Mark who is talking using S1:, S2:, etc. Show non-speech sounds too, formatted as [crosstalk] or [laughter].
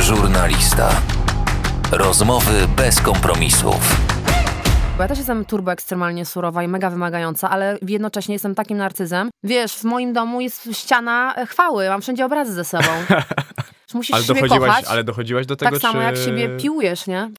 S1: Żurnalista. Rozmowy bez kompromisów.
S2: Bo ja też jestem turbo ekstremalnie surowa i mega wymagająca, ale jednocześnie jestem takim narcyzem. Wiesz, w moim domu jest ściana e, chwały, mam wszędzie
S3: [laughs]
S2: obrazy ze sobą. Musisz
S3: Ale
S2: siebie
S3: dochodziłaś,
S2: kochać,
S3: ale e, dochodziłaś do tego,
S2: tak samo
S3: czy...
S2: jak siebie piłujesz, nie?